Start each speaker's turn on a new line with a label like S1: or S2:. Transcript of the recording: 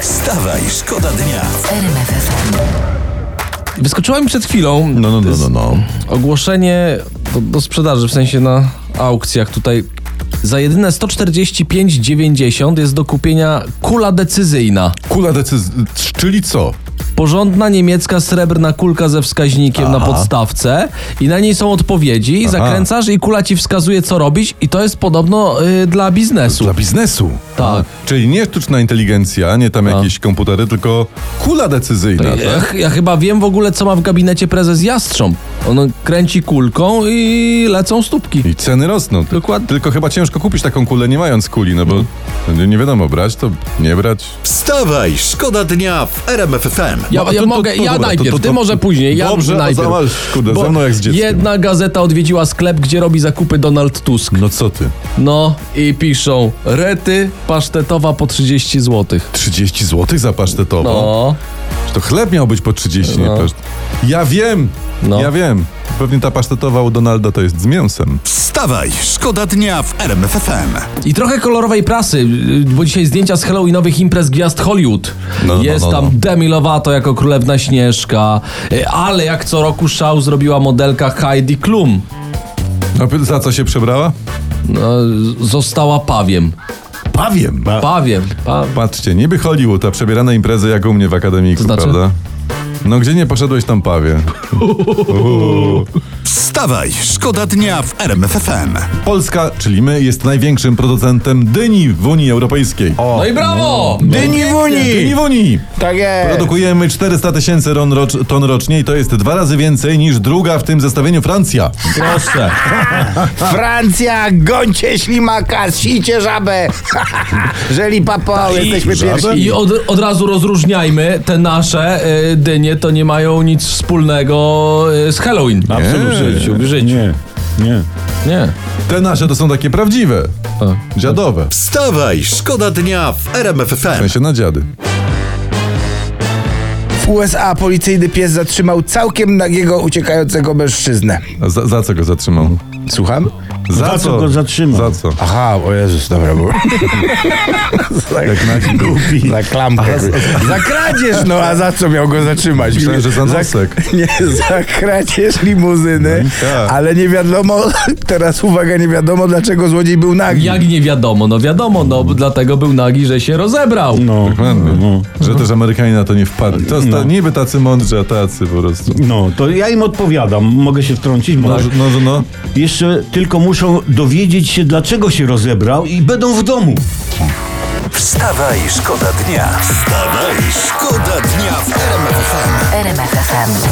S1: Wstawaj, szkoda dnia.
S2: RMF FM.
S3: Wyskoczyła mi przed chwilą
S4: No, no, no, no, no.
S3: ogłoszenie do, do sprzedaży, w sensie na aukcjach tutaj. Za jedyne 145,90 jest do kupienia kula decyzyjna.
S4: Kula decyzji. Czyli co?
S3: Porządna niemiecka srebrna kulka ze wskaźnikiem na podstawce i na niej są odpowiedzi. Zakręcasz i kula ci wskazuje, co robić i to jest podobno y, dla biznesu.
S4: Dla biznesu.
S3: Tak.
S4: Czyli nie sztuczna inteligencja, nie tam jakieś komputery, tylko kula decyzyjna.
S3: Ja,
S4: Tak?
S3: ch- ja chyba wiem w ogóle, co ma w gabinecie prezes Jastrząb. On kręci kulką i lecą stópki.
S4: I ceny rosną. Ty-
S3: Dokładnie. Mhm.
S4: Tylko chyba ciężko kupić taką kulę nie mając kuli, no bo nie- nie wiadomo, brać to, nie brać.
S1: Wstawaj, szkoda dnia w RMF FM.
S3: Ja,
S4: No, a
S3: ja
S4: to- to-
S3: mogę,
S4: to
S3: ja
S4: dobra,
S3: najpierw,
S4: to- to-
S3: ty może później, ja
S4: Dobrze,
S3: najpierw.
S4: zamasz, kurde,
S3: Bo
S4: ze mną jak z dzieckiem.
S3: Jedna gazeta odwiedziła sklep, gdzie robi zakupy Donald Tusk.
S4: No co ty?
S3: No i piszą, rety pasztetowa po 30 zł.
S4: 30 zł za pasztetową?
S3: No,
S4: Czy To chleb miał być po 30,
S3: No.
S4: nie paszt... Ja wiem,
S3: No.
S4: ja wiem. Pewnie ta pasztetowa u Donalda to jest z mięsem.
S1: Wstawaj, szkoda dnia w RMF FM.
S3: i trochę kolorowej prasy, y, bo dzisiaj zdjęcia z Halloweenowych imprez gwiazd Hollywood.
S4: No, no,
S3: Jest
S4: no, no,
S3: tam
S4: no.
S3: Demi Lovato jako królewna Śnieżka, y, ale jak co roku szał zrobiła modelka Heidi Klum.
S4: A za co się przebrała?
S3: No, z- została pawiem.
S4: Pawiem.
S3: Pawiem. Pa...
S4: Patrzcie, niby Hollywood, a przebierane imprezy jak u mnie w akademiku,
S3: To znaczy?
S4: prawda? No gdzie nie poszedłeś, tam pawie.
S1: Wstawaj, szkoda dnia w RMF FM.
S4: Polska, czyli my, jest największym producentem dyni w Unii Europejskiej. O,
S3: No i brawo!
S5: Dyni w
S4: dyni
S5: Unii!
S4: w Unii!
S5: Tak jest!
S4: Produkujemy 400 tysięcy ron rocz, ton rocznie i to jest dwa razy więcej niż druga w tym zestawieniu Francja.
S3: Proszę.
S5: Francja, gońcie ślimaka, sicie żabę!Żeli papo, jesteśmy
S4: Tak. żabę?
S5: pierwsi.
S3: I od, od razu rozróżniajmy, te nasze y, dynie to nie mają nic wspólnego y, z Halloween.
S4: Nie.
S5: Nie, nie.
S3: Nie.
S4: Te nasze to są takie prawdziwe,
S3: Tak.
S4: dziadowe.
S1: Wstawaj, szkoda dnia w RMF
S4: W
S1: FM.
S4: sensie na dziady.
S5: W USA policyjny pies zatrzymał całkiem nagiego uciekającego mężczyznę.
S4: A Za, za co go zatrzymał?
S5: Słucham?
S4: Za,
S6: co go zatrzymał?
S4: Za co?
S5: Aha, o Jezus, dobra, bo... Jak na głupi. Za klamkę. Za kradzież, no a za co miał go zatrzymać?
S4: Myślałem, że za nosek.
S5: Nie, za kradzież limuzyny,
S4: No i tak.
S5: ale nie wiadomo, teraz uwaga, nie wiadomo dlaczego złodziej był nagi.
S3: Jak nie wiadomo? No wiadomo, no bo dlatego był nagi, że się rozebrał.
S6: No,
S4: Dokładnie.
S6: no,
S4: Że też Amerykanie na to nie wpadli. To jest ta, niby tacy mądrzy, a tacy po prostu.
S6: no, to ja tak. im odpowiadam. Mogę się wtrącić?
S4: No,
S6: Bo
S4: że- no, że no.
S6: Jeszcze tylko muszą dowiedzieć się, dlaczego się rozebrał i będą w domu.
S1: Wstawaj, szkoda dnia. Wstawaj, szkoda dnia w RMF FM.
S2: RMF FM.